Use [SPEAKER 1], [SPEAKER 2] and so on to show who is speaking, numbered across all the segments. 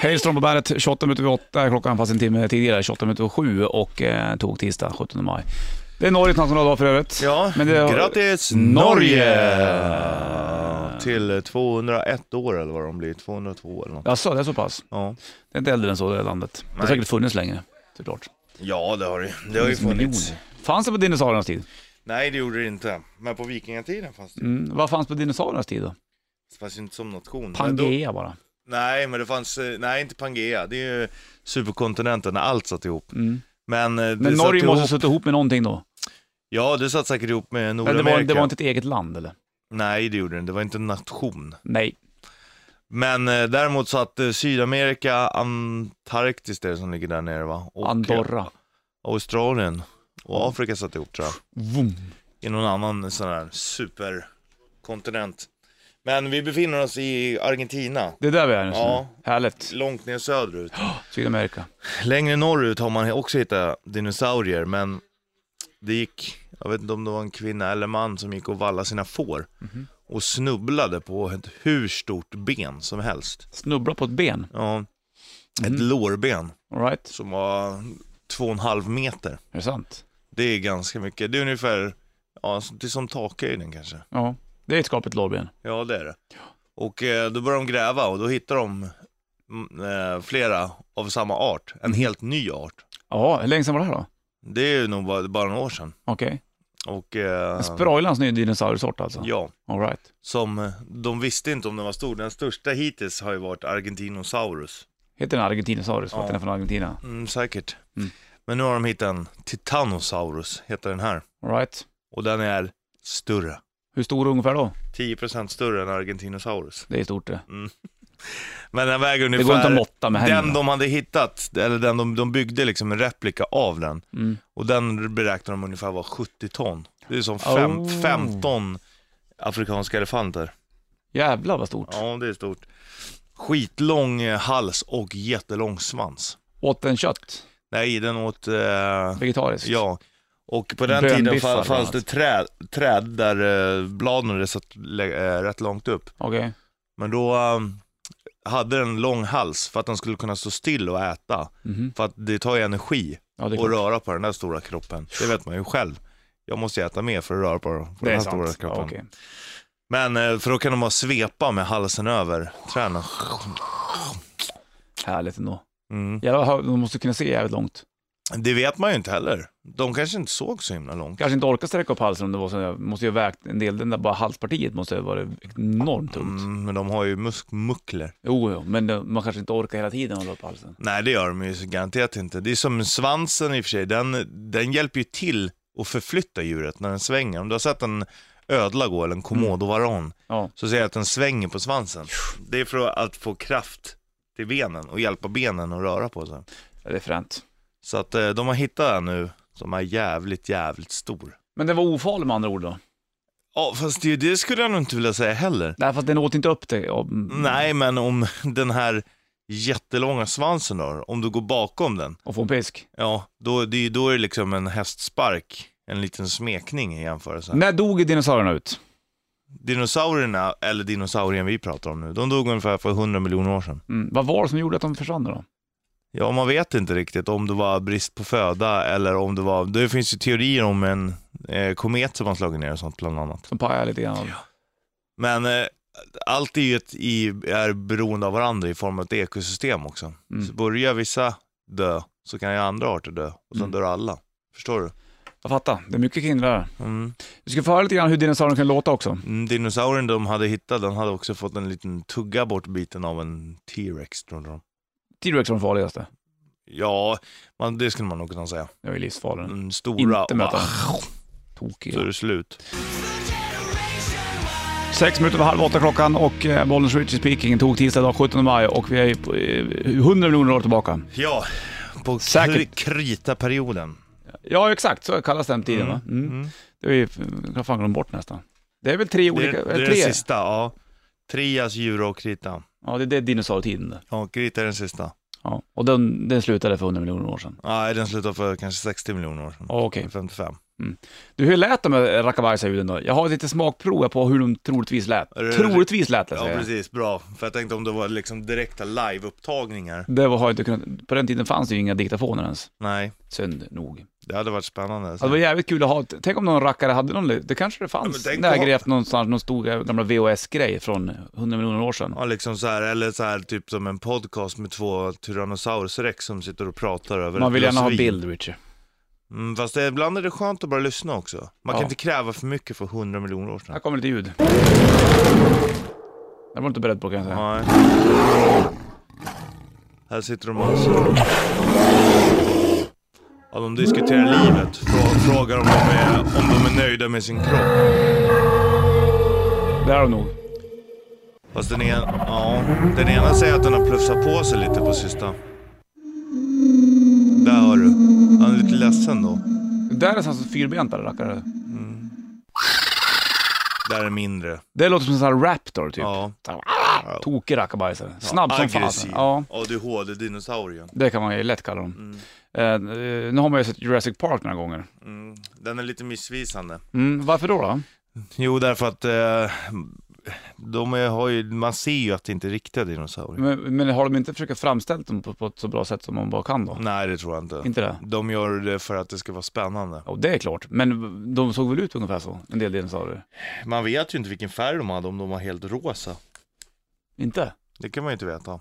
[SPEAKER 1] Hej Ström på bäret, 28 minuter över 8 klockan, fast en timme tidigare, 28 minuter över 7 och eh, tog tisdag 17 maj. Det är Norges nationaldag för övrigt.
[SPEAKER 2] Ja,
[SPEAKER 1] Men det-
[SPEAKER 2] grattis Norge! Till 201 år eller vad de blir, 202 eller något.
[SPEAKER 1] Jaså, det är så pass?
[SPEAKER 2] Ja,
[SPEAKER 1] Det är inte äldre än så, det här landet. Det har
[SPEAKER 2] Nej.
[SPEAKER 1] säkert funnits länge, såklart.
[SPEAKER 2] ja det har det ju- det har ju funnits.
[SPEAKER 1] Miljoner. Fanns det på dinosauriernas tid?
[SPEAKER 2] Nej det gjorde det inte, men på vikingatiden fanns det.
[SPEAKER 1] Mm. Vad fanns på dinosauriernas tid då?
[SPEAKER 2] Det fanns ju inte som nation. Men då-
[SPEAKER 1] Pangea bara.
[SPEAKER 2] Nej, men det fanns, eh, nej inte Pangea, det är ju superkontinenten när allt satt ihop.
[SPEAKER 1] Mm.
[SPEAKER 2] Men, eh, det
[SPEAKER 1] Men
[SPEAKER 2] satt
[SPEAKER 1] Norge
[SPEAKER 2] ihop,
[SPEAKER 1] måste ha suttit ihop med någonting då?
[SPEAKER 2] Ja, det satt säkert ihop med
[SPEAKER 1] Men det,
[SPEAKER 2] Nordamerika.
[SPEAKER 1] var, det var inte ett eget land eller?
[SPEAKER 2] Nej, det gjorde det inte, det var inte en nation.
[SPEAKER 1] Nej.
[SPEAKER 2] Men eh, däremot satt eh, Sydamerika, Antarktis det är som ligger där nere va? Och, eh,
[SPEAKER 1] Andorra.
[SPEAKER 2] Australien och Afrika satt ihop tror jag.
[SPEAKER 1] Vum.
[SPEAKER 2] I någon annan sån här superkontinent. Men vi befinner oss i Argentina.
[SPEAKER 1] Det är där vi är just nu.
[SPEAKER 2] Ja.
[SPEAKER 1] Härligt.
[SPEAKER 2] Långt ner söderut.
[SPEAKER 1] Sydamerika.
[SPEAKER 2] Längre norrut har man också hittat dinosaurier, men det gick, jag vet inte om det var en kvinna eller man som gick och vallade sina får och snubblade på ett hur stort ben som helst.
[SPEAKER 1] Snubbla på ett ben.
[SPEAKER 2] Ja, ett lårben
[SPEAKER 1] All right.
[SPEAKER 2] som var två och en halv meter.
[SPEAKER 1] Är det sant?
[SPEAKER 2] Det är ganska mycket. Det är ungefär, ja, det är som takhöjden kanske.
[SPEAKER 1] Ja. Det är ett skapligt lårben.
[SPEAKER 2] Ja, det är det. Och eh, då börjar de gräva och då hittar de mm, eh, flera av samma art.
[SPEAKER 1] Mm.
[SPEAKER 2] En helt ny art.
[SPEAKER 1] Ja, hur länge sedan var det här då?
[SPEAKER 2] Det är ju nog bara, bara några år sedan.
[SPEAKER 1] Okej.
[SPEAKER 2] Och, eh,
[SPEAKER 1] Sproilans nya dinosauriesort alltså?
[SPEAKER 2] ja,
[SPEAKER 1] All right.
[SPEAKER 2] som eh, de visste inte om den var stor. Den största hittills har ju varit Argentinosaurus.
[SPEAKER 1] Heter den argentinosaurus för att
[SPEAKER 2] Ja.
[SPEAKER 1] den är från Argentina?
[SPEAKER 2] Mm, säkert.
[SPEAKER 1] Mm.
[SPEAKER 2] Men nu har de hittat en Titanosaurus, heter den här.
[SPEAKER 1] All right.
[SPEAKER 2] Och den är större.
[SPEAKER 1] Hur stor ungefär då?
[SPEAKER 2] 10% större än Argentinosaurus.
[SPEAKER 1] Det är stort det.
[SPEAKER 2] Men den väger
[SPEAKER 1] Det går inte
[SPEAKER 2] ungefär...
[SPEAKER 1] att måtta med
[SPEAKER 2] den
[SPEAKER 1] händerna.
[SPEAKER 2] de hade hittat, eller den de, de byggde liksom en replika av den.
[SPEAKER 1] Mm.
[SPEAKER 2] Och den beräknar de ungefär var 70 ton. Det är som fem,
[SPEAKER 1] Oh.
[SPEAKER 2] 15 afrikanska elefanter.
[SPEAKER 1] Jävlar vad stort.
[SPEAKER 2] Ja, det är stort. Skitlång eh, hals och jättelång svans.
[SPEAKER 1] Åt en kött?
[SPEAKER 2] Nej, den åt... Eh,
[SPEAKER 1] Vegetariskt?
[SPEAKER 2] ja. Och på den
[SPEAKER 1] Bönbiffar
[SPEAKER 2] tiden fa-
[SPEAKER 1] bland
[SPEAKER 2] fanns det
[SPEAKER 1] annat.
[SPEAKER 2] träd, träd där eh, bladen satt lä- eh, rätt långt upp.
[SPEAKER 1] Okej.
[SPEAKER 2] Men då eh, hade den lång hals för att den skulle kunna stå still och äta.
[SPEAKER 1] Mhm.
[SPEAKER 2] För att det tar ju energi
[SPEAKER 1] Ja, det är
[SPEAKER 2] och
[SPEAKER 1] klart.
[SPEAKER 2] röra på den där stora kroppen. Det vet man ju själv. Jag måste ju äta mer för att röra på, på
[SPEAKER 1] Det
[SPEAKER 2] den
[SPEAKER 1] är
[SPEAKER 2] här stora
[SPEAKER 1] sant.
[SPEAKER 2] kroppen.
[SPEAKER 1] Ja, okej.
[SPEAKER 2] Men eh, för då kan de bara svepa med halsen över träden.
[SPEAKER 1] Härligt ändå.
[SPEAKER 2] Mm.
[SPEAKER 1] Jävlar, vad hö- de måste kunna se jävligt långt.
[SPEAKER 2] Det vet man ju inte heller. De kanske inte såg så himla långt.
[SPEAKER 1] Kanske inte orkar sträcka upp halsen om det var så. där. måste ju ha vägt en del. Den där bara halspartiet måste ha varit enormt tungt.
[SPEAKER 2] Mm, men de har ju musk- muskler.
[SPEAKER 1] Jo, jo, men eh, man kanske inte orkar hela tiden hålla upp halsen.
[SPEAKER 2] Nej, det gör de ju garanterat inte. Det är som svansen i och för sig. Den, den hjälper ju till att förflytta djuret när den svänger. Om du har sett en ödla gå
[SPEAKER 1] Mm.
[SPEAKER 2] eller en komodovaran
[SPEAKER 1] Ja.
[SPEAKER 2] så ser jag att den svänger på svansen. Det är för att få kraft till benen och hjälpa benen att röra på sig.
[SPEAKER 1] Ja, Det är fränt.
[SPEAKER 2] Så att eh, de har hittat den nu som är jävligt, jävligt stor.
[SPEAKER 1] Men den var ofarlig med andra ord då?
[SPEAKER 2] Ja, fast det, det skulle jag nog inte vilja säga heller.
[SPEAKER 1] Nej, fast den åt inte upp det. Ja, mm,
[SPEAKER 2] Nej, men om den här jättelånga svansen då, om du går bakom den,
[SPEAKER 1] Och få en pisk.
[SPEAKER 2] ja, då, det, är ju- då är det liksom en hästspark, en liten smekning i jämförelse.
[SPEAKER 1] När dog dinosaurierna ut?
[SPEAKER 2] Dinosaurierna, eller dinosaurien vi pratar om nu, de dog ungefär för 100 miljoner år sedan.
[SPEAKER 1] Mm. Vad var det som gjorde att de försvann då?
[SPEAKER 2] Ja, man vet inte riktigt om det var brist på föda eller om det var, det finns ju teorier om en eh, komet som har slagit ner och sånt bland annat.
[SPEAKER 1] Som pajade lite grann?
[SPEAKER 2] Men eh, allt är ju ett, i, är beroende av varandra i form av ett ekosystem också.
[SPEAKER 1] Mm.
[SPEAKER 2] Så börjar vissa dö så kan ju andra arter dö och sen
[SPEAKER 1] Mm.
[SPEAKER 2] dör alla. Förstår du?
[SPEAKER 1] Jag fattar, det är mycket kring det där.
[SPEAKER 2] Mm.
[SPEAKER 1] Vi ska få höra lite grann hur dinosaurierna kan låta också.
[SPEAKER 2] Mm, Dinosaurien de hade hittat, den hade också fått en liten tugga bort biten av en T-rex tror de.
[SPEAKER 1] T-Rex var den farligaste.
[SPEAKER 2] Ja, man, det skulle man nog kunna säga.
[SPEAKER 1] Jag är ju livsfarlig.
[SPEAKER 2] Den stora
[SPEAKER 1] Mm. Inte
[SPEAKER 2] och
[SPEAKER 1] möta
[SPEAKER 2] bara,
[SPEAKER 1] den.
[SPEAKER 2] så är
[SPEAKER 1] Tokiga.
[SPEAKER 2] det slut.
[SPEAKER 1] Sex minuter över halv åtta klockan och eh, Bollnäs Richie speaking. Tog tisdag dag 17 maj och vi är ju på, eh, 100 miljoner år tillbaka.
[SPEAKER 2] Ja, på
[SPEAKER 1] Säkert.
[SPEAKER 2] kri- kritaperioden.
[SPEAKER 1] Ja, exakt. Så kallas den tiden va? Mm.
[SPEAKER 2] Mm.
[SPEAKER 1] Det är ju, jag fan glömt bort nästan. Det är väl tre
[SPEAKER 2] Det,
[SPEAKER 1] olika...
[SPEAKER 2] är- det
[SPEAKER 1] eller
[SPEAKER 2] är
[SPEAKER 1] tre?
[SPEAKER 2] den sista, ja. Trias, djur och krita.
[SPEAKER 1] Ja, det, det är dinosaurietiden det.
[SPEAKER 2] Ja, krita är den sista.
[SPEAKER 1] Ja. Och den, den slutade för 100 miljoner år sedan.
[SPEAKER 2] Nej, den slutade för kanske 60 miljoner år sedan.
[SPEAKER 1] Ja, Okej.
[SPEAKER 2] Eller 55.
[SPEAKER 1] Du, hur lät de här rackabajsljuden då? Jag har lite smakprov på hur de troligtvis lät.
[SPEAKER 2] Är det-
[SPEAKER 1] Troligtvis lät det,
[SPEAKER 2] Ja,
[SPEAKER 1] säger jag.
[SPEAKER 2] precis. Bra. För jag tänkte om det var liksom direkta live-upptagningar.
[SPEAKER 1] Det var- har jag inte kunnat... På den tiden fanns det ju inga diktafoner ens.
[SPEAKER 2] Nej,
[SPEAKER 1] Synd nog.
[SPEAKER 2] det hade varit spännande.
[SPEAKER 1] Ja, Det var jävligt kul att ha. Tänk om någon rackare hade någon... Det kanske det fanns.
[SPEAKER 2] Ja, men tänk
[SPEAKER 1] När jag
[SPEAKER 2] på-
[SPEAKER 1] grävt någonstans, någon stor gamla VHS-grej från 100 miljoner år sedan.
[SPEAKER 2] Ja, liksom så här, eller så här, typ som en podcast med två Tyrannosaurus rex som sitter och pratar över
[SPEAKER 1] Man
[SPEAKER 2] ett
[SPEAKER 1] vill
[SPEAKER 2] glas
[SPEAKER 1] gärna ha
[SPEAKER 2] vin.
[SPEAKER 1] bild, Richard.
[SPEAKER 2] Mm, fast det, ibland är det skönt att bara lyssna också. Man
[SPEAKER 1] Ja.
[SPEAKER 2] kan inte kräva för mycket för 100 miljoner år sedan.
[SPEAKER 1] Här kommer lite ljud. Jag var inte beredd på det, kan jag säga.
[SPEAKER 2] Nej. Här sitter de och... Ja, de diskuterar livet. Frå- Frågar om de, är, om de är nöjda med sin kropp.
[SPEAKER 1] Det är de nog.
[SPEAKER 2] Fast den ena, ja, den ena säger att den har plufsat på sig lite på sista. Där har du. Han är lite ledsen då.
[SPEAKER 1] Det där är alltså fyrbentade rackare.
[SPEAKER 2] Där är mindre.
[SPEAKER 1] Det låter som en sån här raptor typ.
[SPEAKER 2] Ja.
[SPEAKER 1] Ah, Tokig rackabajsare. Snabb som
[SPEAKER 2] Aggressiv.
[SPEAKER 1] fasen. Ja,
[SPEAKER 2] ADHD-dinosaurien.
[SPEAKER 1] det kan man ju lätt kalla dem. Eh, eh, nu har man ju sett Jurassic Park några gånger.
[SPEAKER 2] Mm. Den är lite missvisande.
[SPEAKER 1] Mm, varför då? då?
[SPEAKER 2] Jo, därför att eh, de är, har ju, man ser ju att det inte är riktiga dinosaurier.
[SPEAKER 1] Men, men har de inte försökt framställa dem på, på ett så bra sätt som man bara kan då?
[SPEAKER 2] Nej, det tror jag inte.
[SPEAKER 1] Inte det?
[SPEAKER 2] De gör det för att det ska vara spännande.
[SPEAKER 1] Ja, det är klart. Men de såg väl ut ungefär så, en del dinosaurier?
[SPEAKER 2] Man vet ju inte vilken färg de hade, om de var helt rosa.
[SPEAKER 1] Inte?
[SPEAKER 2] Det kan man ju inte veta.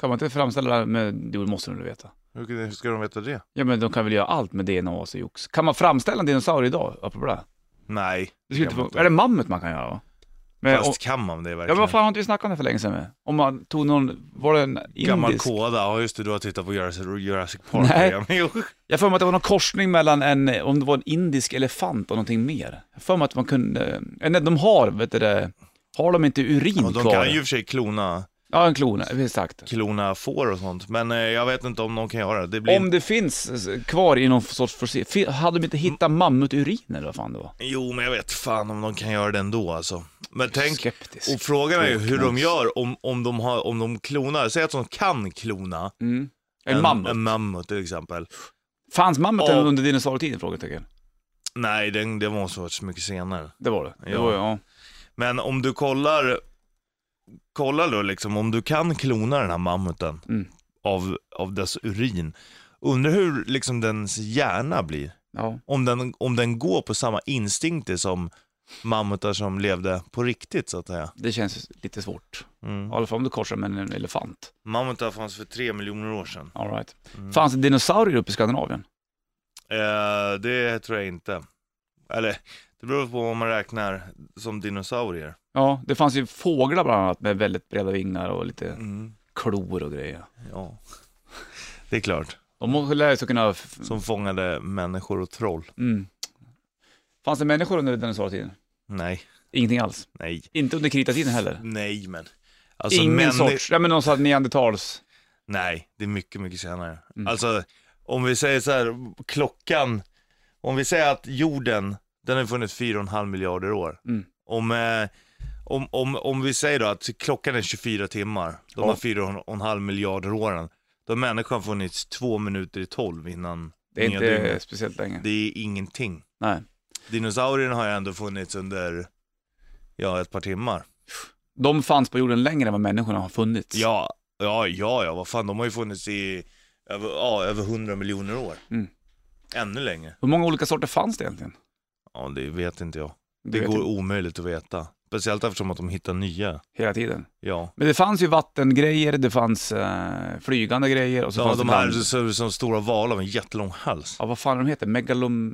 [SPEAKER 1] Kan man inte framställa det med... Jo, det måste de väl veta.
[SPEAKER 2] Hur, kan- hur ska de veta det?
[SPEAKER 1] Ja, men de kan väl göra allt med DNA och så jox. Kan man framställa en dinosaurie idag? Apropå det.
[SPEAKER 2] Nej,
[SPEAKER 1] det skulle
[SPEAKER 2] kan man
[SPEAKER 1] inte
[SPEAKER 2] inte.
[SPEAKER 1] få... Är det mammut man kan göra? va? Men,
[SPEAKER 2] fast
[SPEAKER 1] och,
[SPEAKER 2] kan man det
[SPEAKER 1] ja, men
[SPEAKER 2] verkligen?
[SPEAKER 1] vad fan har inte vi snackat om det för länge sedan? Med? Om man tog någon... Var det en indisk?
[SPEAKER 2] Gammal kåda, ja just det, du har tittat på Jurassic, Jurassic Park
[SPEAKER 1] Nej.
[SPEAKER 2] igen. Jo.
[SPEAKER 1] Jag får mig att det var någon korsning mellan en, om det var en indisk elefant och någonting mer. Jag får mig att man kunde, eh, nej de har, vet du det, har de inte urin
[SPEAKER 2] Och de
[SPEAKER 1] kvar?
[SPEAKER 2] kan ju i och för sig klona,
[SPEAKER 1] Ja, en klon, exakt.
[SPEAKER 2] klona får och sånt, men eh, jag vet inte om någon kan göra det. det blir
[SPEAKER 1] Om det finns eh, kvar i någon sorts fossil, fi- hade de inte hittat mammuturin eller vad fan det var?
[SPEAKER 2] Jo, men jag vet fan om de kan göra det ändå alltså. Men tänk,
[SPEAKER 1] Skeptisk.
[SPEAKER 2] och frågan är ju hur de
[SPEAKER 1] Knas.
[SPEAKER 2] gör om, om, de har, om de klonar, säg att de kan klona
[SPEAKER 1] Mm. En mammut.
[SPEAKER 2] en mammut till exempel.
[SPEAKER 1] Fanns mammuten
[SPEAKER 2] Ja.
[SPEAKER 1] under dinosaurietiden? Frågetecken.
[SPEAKER 2] Nej, den, det måste ha varit så mycket senare.
[SPEAKER 1] Det var det. det
[SPEAKER 2] Ja.
[SPEAKER 1] var, ju- ja.
[SPEAKER 2] Men om du kollar, kollar då liksom, om du kan klona den här mammuten
[SPEAKER 1] Mm.
[SPEAKER 2] av, av dess urin, undrar hur liksom dens hjärna blir?
[SPEAKER 1] ja.
[SPEAKER 2] Om den, om den går på samma instinkter som mammutar som levde på riktigt så att säga.
[SPEAKER 1] Det känns lite svårt. I
[SPEAKER 2] Mm.
[SPEAKER 1] alla fall om du korsar med en elefant.
[SPEAKER 2] Mammutar fanns för tre miljoner år sedan.
[SPEAKER 1] All right.
[SPEAKER 2] Mm.
[SPEAKER 1] Fanns det dinosaurier uppe i Skandinavien?
[SPEAKER 2] Eh, det tror jag inte. Eller, det beror på om man räknar som dinosaurier.
[SPEAKER 1] Ja, det fanns ju fåglar bland annat med väldigt breda vingar och lite
[SPEAKER 2] Mm.
[SPEAKER 1] klor och grejer.
[SPEAKER 2] Ja, det är klart.
[SPEAKER 1] De må- lär sig kunna... f-
[SPEAKER 2] Som fångade människor och troll.
[SPEAKER 1] Mm. Fanns det människor under dinosaurietiden?
[SPEAKER 2] Nej,
[SPEAKER 1] Ingenting alls.
[SPEAKER 2] nej,
[SPEAKER 1] Inte under kritatiden heller.
[SPEAKER 2] nej men. Alltså,
[SPEAKER 1] Ingen
[SPEAKER 2] männi-
[SPEAKER 1] sorts, nej men någon sorts neandertals.
[SPEAKER 2] Nej, det är mycket, mycket senare.
[SPEAKER 1] Mm.
[SPEAKER 2] Alltså, om vi säger så här, klockan, om vi säger att jorden, den har funnits 4,5 miljarder år.
[SPEAKER 1] Mm.
[SPEAKER 2] Om, eh, om, om, om vi säger då att klockan är 24 timmar, de
[SPEAKER 1] Ja.
[SPEAKER 2] har 4,5 miljarder åren, då har människan funnits två minuter i tolv innan
[SPEAKER 1] Det är
[SPEAKER 2] nya
[SPEAKER 1] inte
[SPEAKER 2] dygnet.
[SPEAKER 1] speciellt länge.
[SPEAKER 2] Det är ingenting.
[SPEAKER 1] Nej.
[SPEAKER 2] Dinosaurierna har ju ändå funnits under, ja, ett par timmar.
[SPEAKER 1] De fanns på jorden längre än vad människorna har funnits.
[SPEAKER 2] Ja, ja, ja, ja, vad fan, de har ju funnits i över, ja, över 100 miljoner år.
[SPEAKER 1] Mm.
[SPEAKER 2] Ännu längre.
[SPEAKER 1] Hur många olika sorter fanns det egentligen?
[SPEAKER 2] Ja, det vet inte jag.
[SPEAKER 1] Du
[SPEAKER 2] Det
[SPEAKER 1] vet
[SPEAKER 2] går
[SPEAKER 1] inte.
[SPEAKER 2] omöjligt att veta. Speciellt eftersom att de hittar nya.
[SPEAKER 1] Hela tiden.
[SPEAKER 2] Ja,
[SPEAKER 1] Men det fanns ju vattengrejer, det fanns eh, flygande grejer och så
[SPEAKER 2] ja
[SPEAKER 1] fanns
[SPEAKER 2] de
[SPEAKER 1] det
[SPEAKER 2] här
[SPEAKER 1] land-
[SPEAKER 2] som, som stora valar med en jättelång hals. Mm.
[SPEAKER 1] Ja, vad fan de heter? Megalom...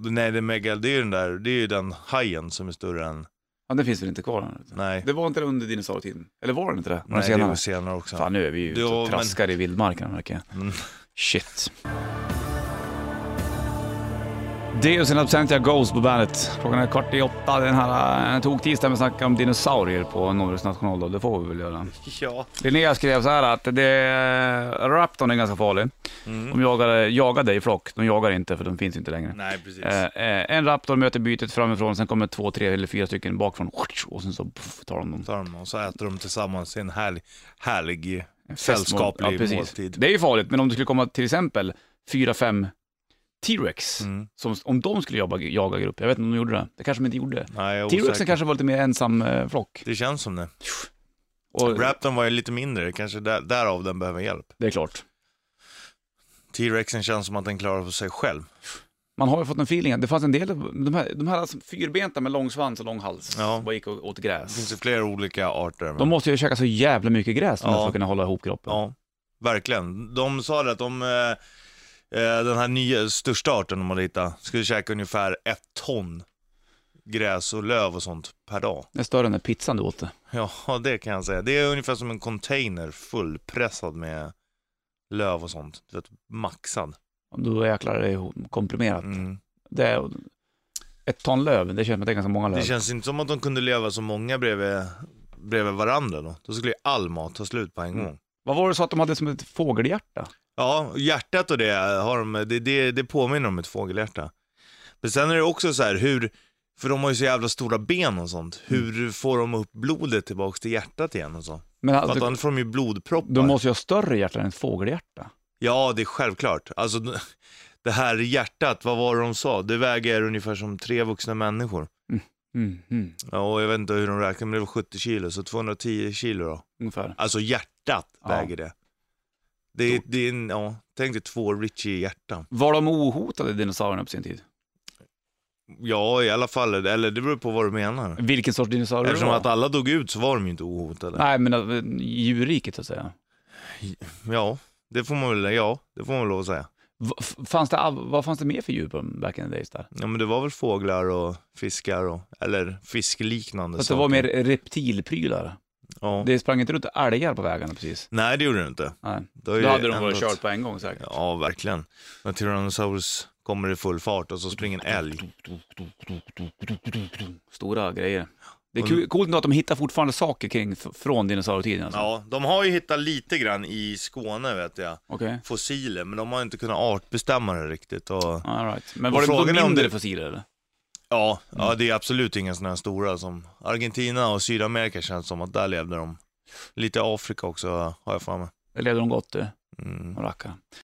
[SPEAKER 2] Nej, det är, mega, det är ju den där, det är ju den hajen som är större än...
[SPEAKER 1] Ja, den finns väl inte kvar? än?
[SPEAKER 2] Nej,
[SPEAKER 1] Det var inte det under dinosaurietiden? Eller var det inte det? Var det
[SPEAKER 2] nej det
[SPEAKER 1] senare?
[SPEAKER 2] var senare också.
[SPEAKER 1] Fan, nu är vi ju ute
[SPEAKER 2] Jo,
[SPEAKER 1] och
[SPEAKER 2] men-
[SPEAKER 1] traskar i vildmarken märker jag.
[SPEAKER 2] Mm.
[SPEAKER 1] Shit. Deus in absentia Ghost på bandet. Klockan är kvart i åtta den här eh, toktisdagen. Vi snackar om dinosaurier på Norges nationaldag. Det får vi väl göra.
[SPEAKER 2] Ja.
[SPEAKER 1] Linnea skrev så här att det, eh, raptorn är ganska farlig.
[SPEAKER 2] Mm.
[SPEAKER 1] De jagar, jagar dig i flock. De jagar inte för de finns inte längre.
[SPEAKER 2] Nej, precis.
[SPEAKER 1] Eh, eh, en raptor möter bytet framifrån, sen kommer två, tre eller fyra stycken bakifrån och sen så puff, tar de dem.
[SPEAKER 2] Tar de och så äter de tillsammans i en härlig, härlig
[SPEAKER 1] Festmål.
[SPEAKER 2] sällskaplig
[SPEAKER 1] precis.
[SPEAKER 2] måltid.
[SPEAKER 1] Det är ju farligt, men om det skulle komma till exempel fyra, fem T-Rex,
[SPEAKER 2] Mm.
[SPEAKER 1] som, om de skulle jaga, jaga grupp, jag vet inte om de gjorde det, det kanske de inte gjorde.
[SPEAKER 2] Nej, jag är
[SPEAKER 1] T-Rexen
[SPEAKER 2] osäker.
[SPEAKER 1] kanske var lite mer ensam eh, flock.
[SPEAKER 2] Det känns som det.
[SPEAKER 1] Och,
[SPEAKER 2] Raptorn var ju lite mindre, kanske där, därav den behöver hjälp.
[SPEAKER 1] det är klart.
[SPEAKER 2] T-rexen känns som att den klarar på sig själv.
[SPEAKER 1] Man har ju fått en feeling, att det fanns en del, de här, de här alltså, fyrbenta med lång svans och lång hals,
[SPEAKER 2] Ja.
[SPEAKER 1] som bara gick och åt
[SPEAKER 2] Det
[SPEAKER 1] gräs.
[SPEAKER 2] finns ju flera olika arter. men-
[SPEAKER 1] De måste ju käka så jävla mycket gräs de här
[SPEAKER 2] Ja.
[SPEAKER 1] för att kunna hålla ihop kroppen.
[SPEAKER 2] Ja, verkligen. De sa det att de, eh, eh, den här nya största arten de hade hittat skulle käka ungefär ett ton gräs och löv och sånt per dag.
[SPEAKER 1] Det är större än den pizzan du åt.
[SPEAKER 2] Ja, det kan jag säga. Det är ungefär som en container fullpressad med löv och sånt. Du vet, maxad.
[SPEAKER 1] Då jäklar är det ju komprimerat.
[SPEAKER 2] Mm.
[SPEAKER 1] Det är, ett ton löv, det känns som att det är ganska många löv.
[SPEAKER 2] Det känns inte som att de kunde leva så många bredvid, bredvid varandra då. Då skulle ju all mat ta slut på en
[SPEAKER 1] Mm.
[SPEAKER 2] gång.
[SPEAKER 1] Vad var det så att de hade som ett fågelhjärta?
[SPEAKER 2] Ja, hjärtat och det, har de, det, det, det påminner om ett fågelhjärta. Men sen är det också så här hur, för de har ju så jävla stora ben och sånt.
[SPEAKER 1] Mm.
[SPEAKER 2] Hur får de upp blodet tillbaks till hjärtat igen och så?
[SPEAKER 1] Men
[SPEAKER 2] För att
[SPEAKER 1] alltså,
[SPEAKER 2] annars får de ju blodproppar.
[SPEAKER 1] de måste ju ha större hjärtan än ett fågelhjärta.
[SPEAKER 2] Ja, det är självklart. Alltså, det här hjärtat, vad var det de sa? Det väger ungefär som tre vuxna människor.
[SPEAKER 1] Mm, mm,
[SPEAKER 2] Ja, och jag vet inte hur de räknar, men det var 70 kilo, så 210 kilo då.
[SPEAKER 1] ungefär.
[SPEAKER 2] Alltså hjärtat
[SPEAKER 1] Ja.
[SPEAKER 2] väger det. Det är, det är en, ja, tänk dig två Richie-hjärtan.
[SPEAKER 1] Var de ohotade dinosaurierna på sin tid?
[SPEAKER 2] Ja, i alla fall. Eller det beror på vad du menar.
[SPEAKER 1] Vilken sorts dinosaurier
[SPEAKER 2] Eftersom
[SPEAKER 1] det var?
[SPEAKER 2] att alla dog ut så var de ju inte ohotade.
[SPEAKER 1] Nej, men äh, djurriket så att säga.
[SPEAKER 2] Ja, det får man väl, ja, det får man väl lov att säga.
[SPEAKER 1] V- f- fanns det, av- vad fanns det mer för djur på dem back in the days där?
[SPEAKER 2] Ja, men det var väl fåglar och fiskar och, eller fiskliknande
[SPEAKER 1] Så att det var mer reptilprylar?
[SPEAKER 2] Ja.
[SPEAKER 1] Det sprang inte runt älgar på vägarna precis?
[SPEAKER 2] Nej, det gjorde det inte.
[SPEAKER 1] Nej.
[SPEAKER 2] Det har
[SPEAKER 1] Då
[SPEAKER 2] ju
[SPEAKER 1] hade de
[SPEAKER 2] ändå-
[SPEAKER 1] varit kört på en gång säkert.
[SPEAKER 2] Ja, verkligen. När Tyrannosaurus kommer i full fart och så springer en älg.
[SPEAKER 1] Mm. Stora grejer. Det är kul, coolt nog att de hittar fortfarande saker kring f- från dinosaurietiden alltså.
[SPEAKER 2] Ja, de har ju hittat lite grann i Skåne vet jag.
[SPEAKER 1] Okej.
[SPEAKER 2] Fossiler, men de har inte kunnat artbestämma det riktigt. Och...
[SPEAKER 1] All right. Men
[SPEAKER 2] Och
[SPEAKER 1] var det då
[SPEAKER 2] frågan är om
[SPEAKER 1] mindre
[SPEAKER 2] det-
[SPEAKER 1] fossiler eller?
[SPEAKER 2] Ja, ja, det är absolut inga sådana här stora som Argentina och Sydamerika känns som att där levde de. Lite Afrika också har jag för mig.
[SPEAKER 1] Det levde de gott du,
[SPEAKER 2] Mm.
[SPEAKER 1] de rackarna.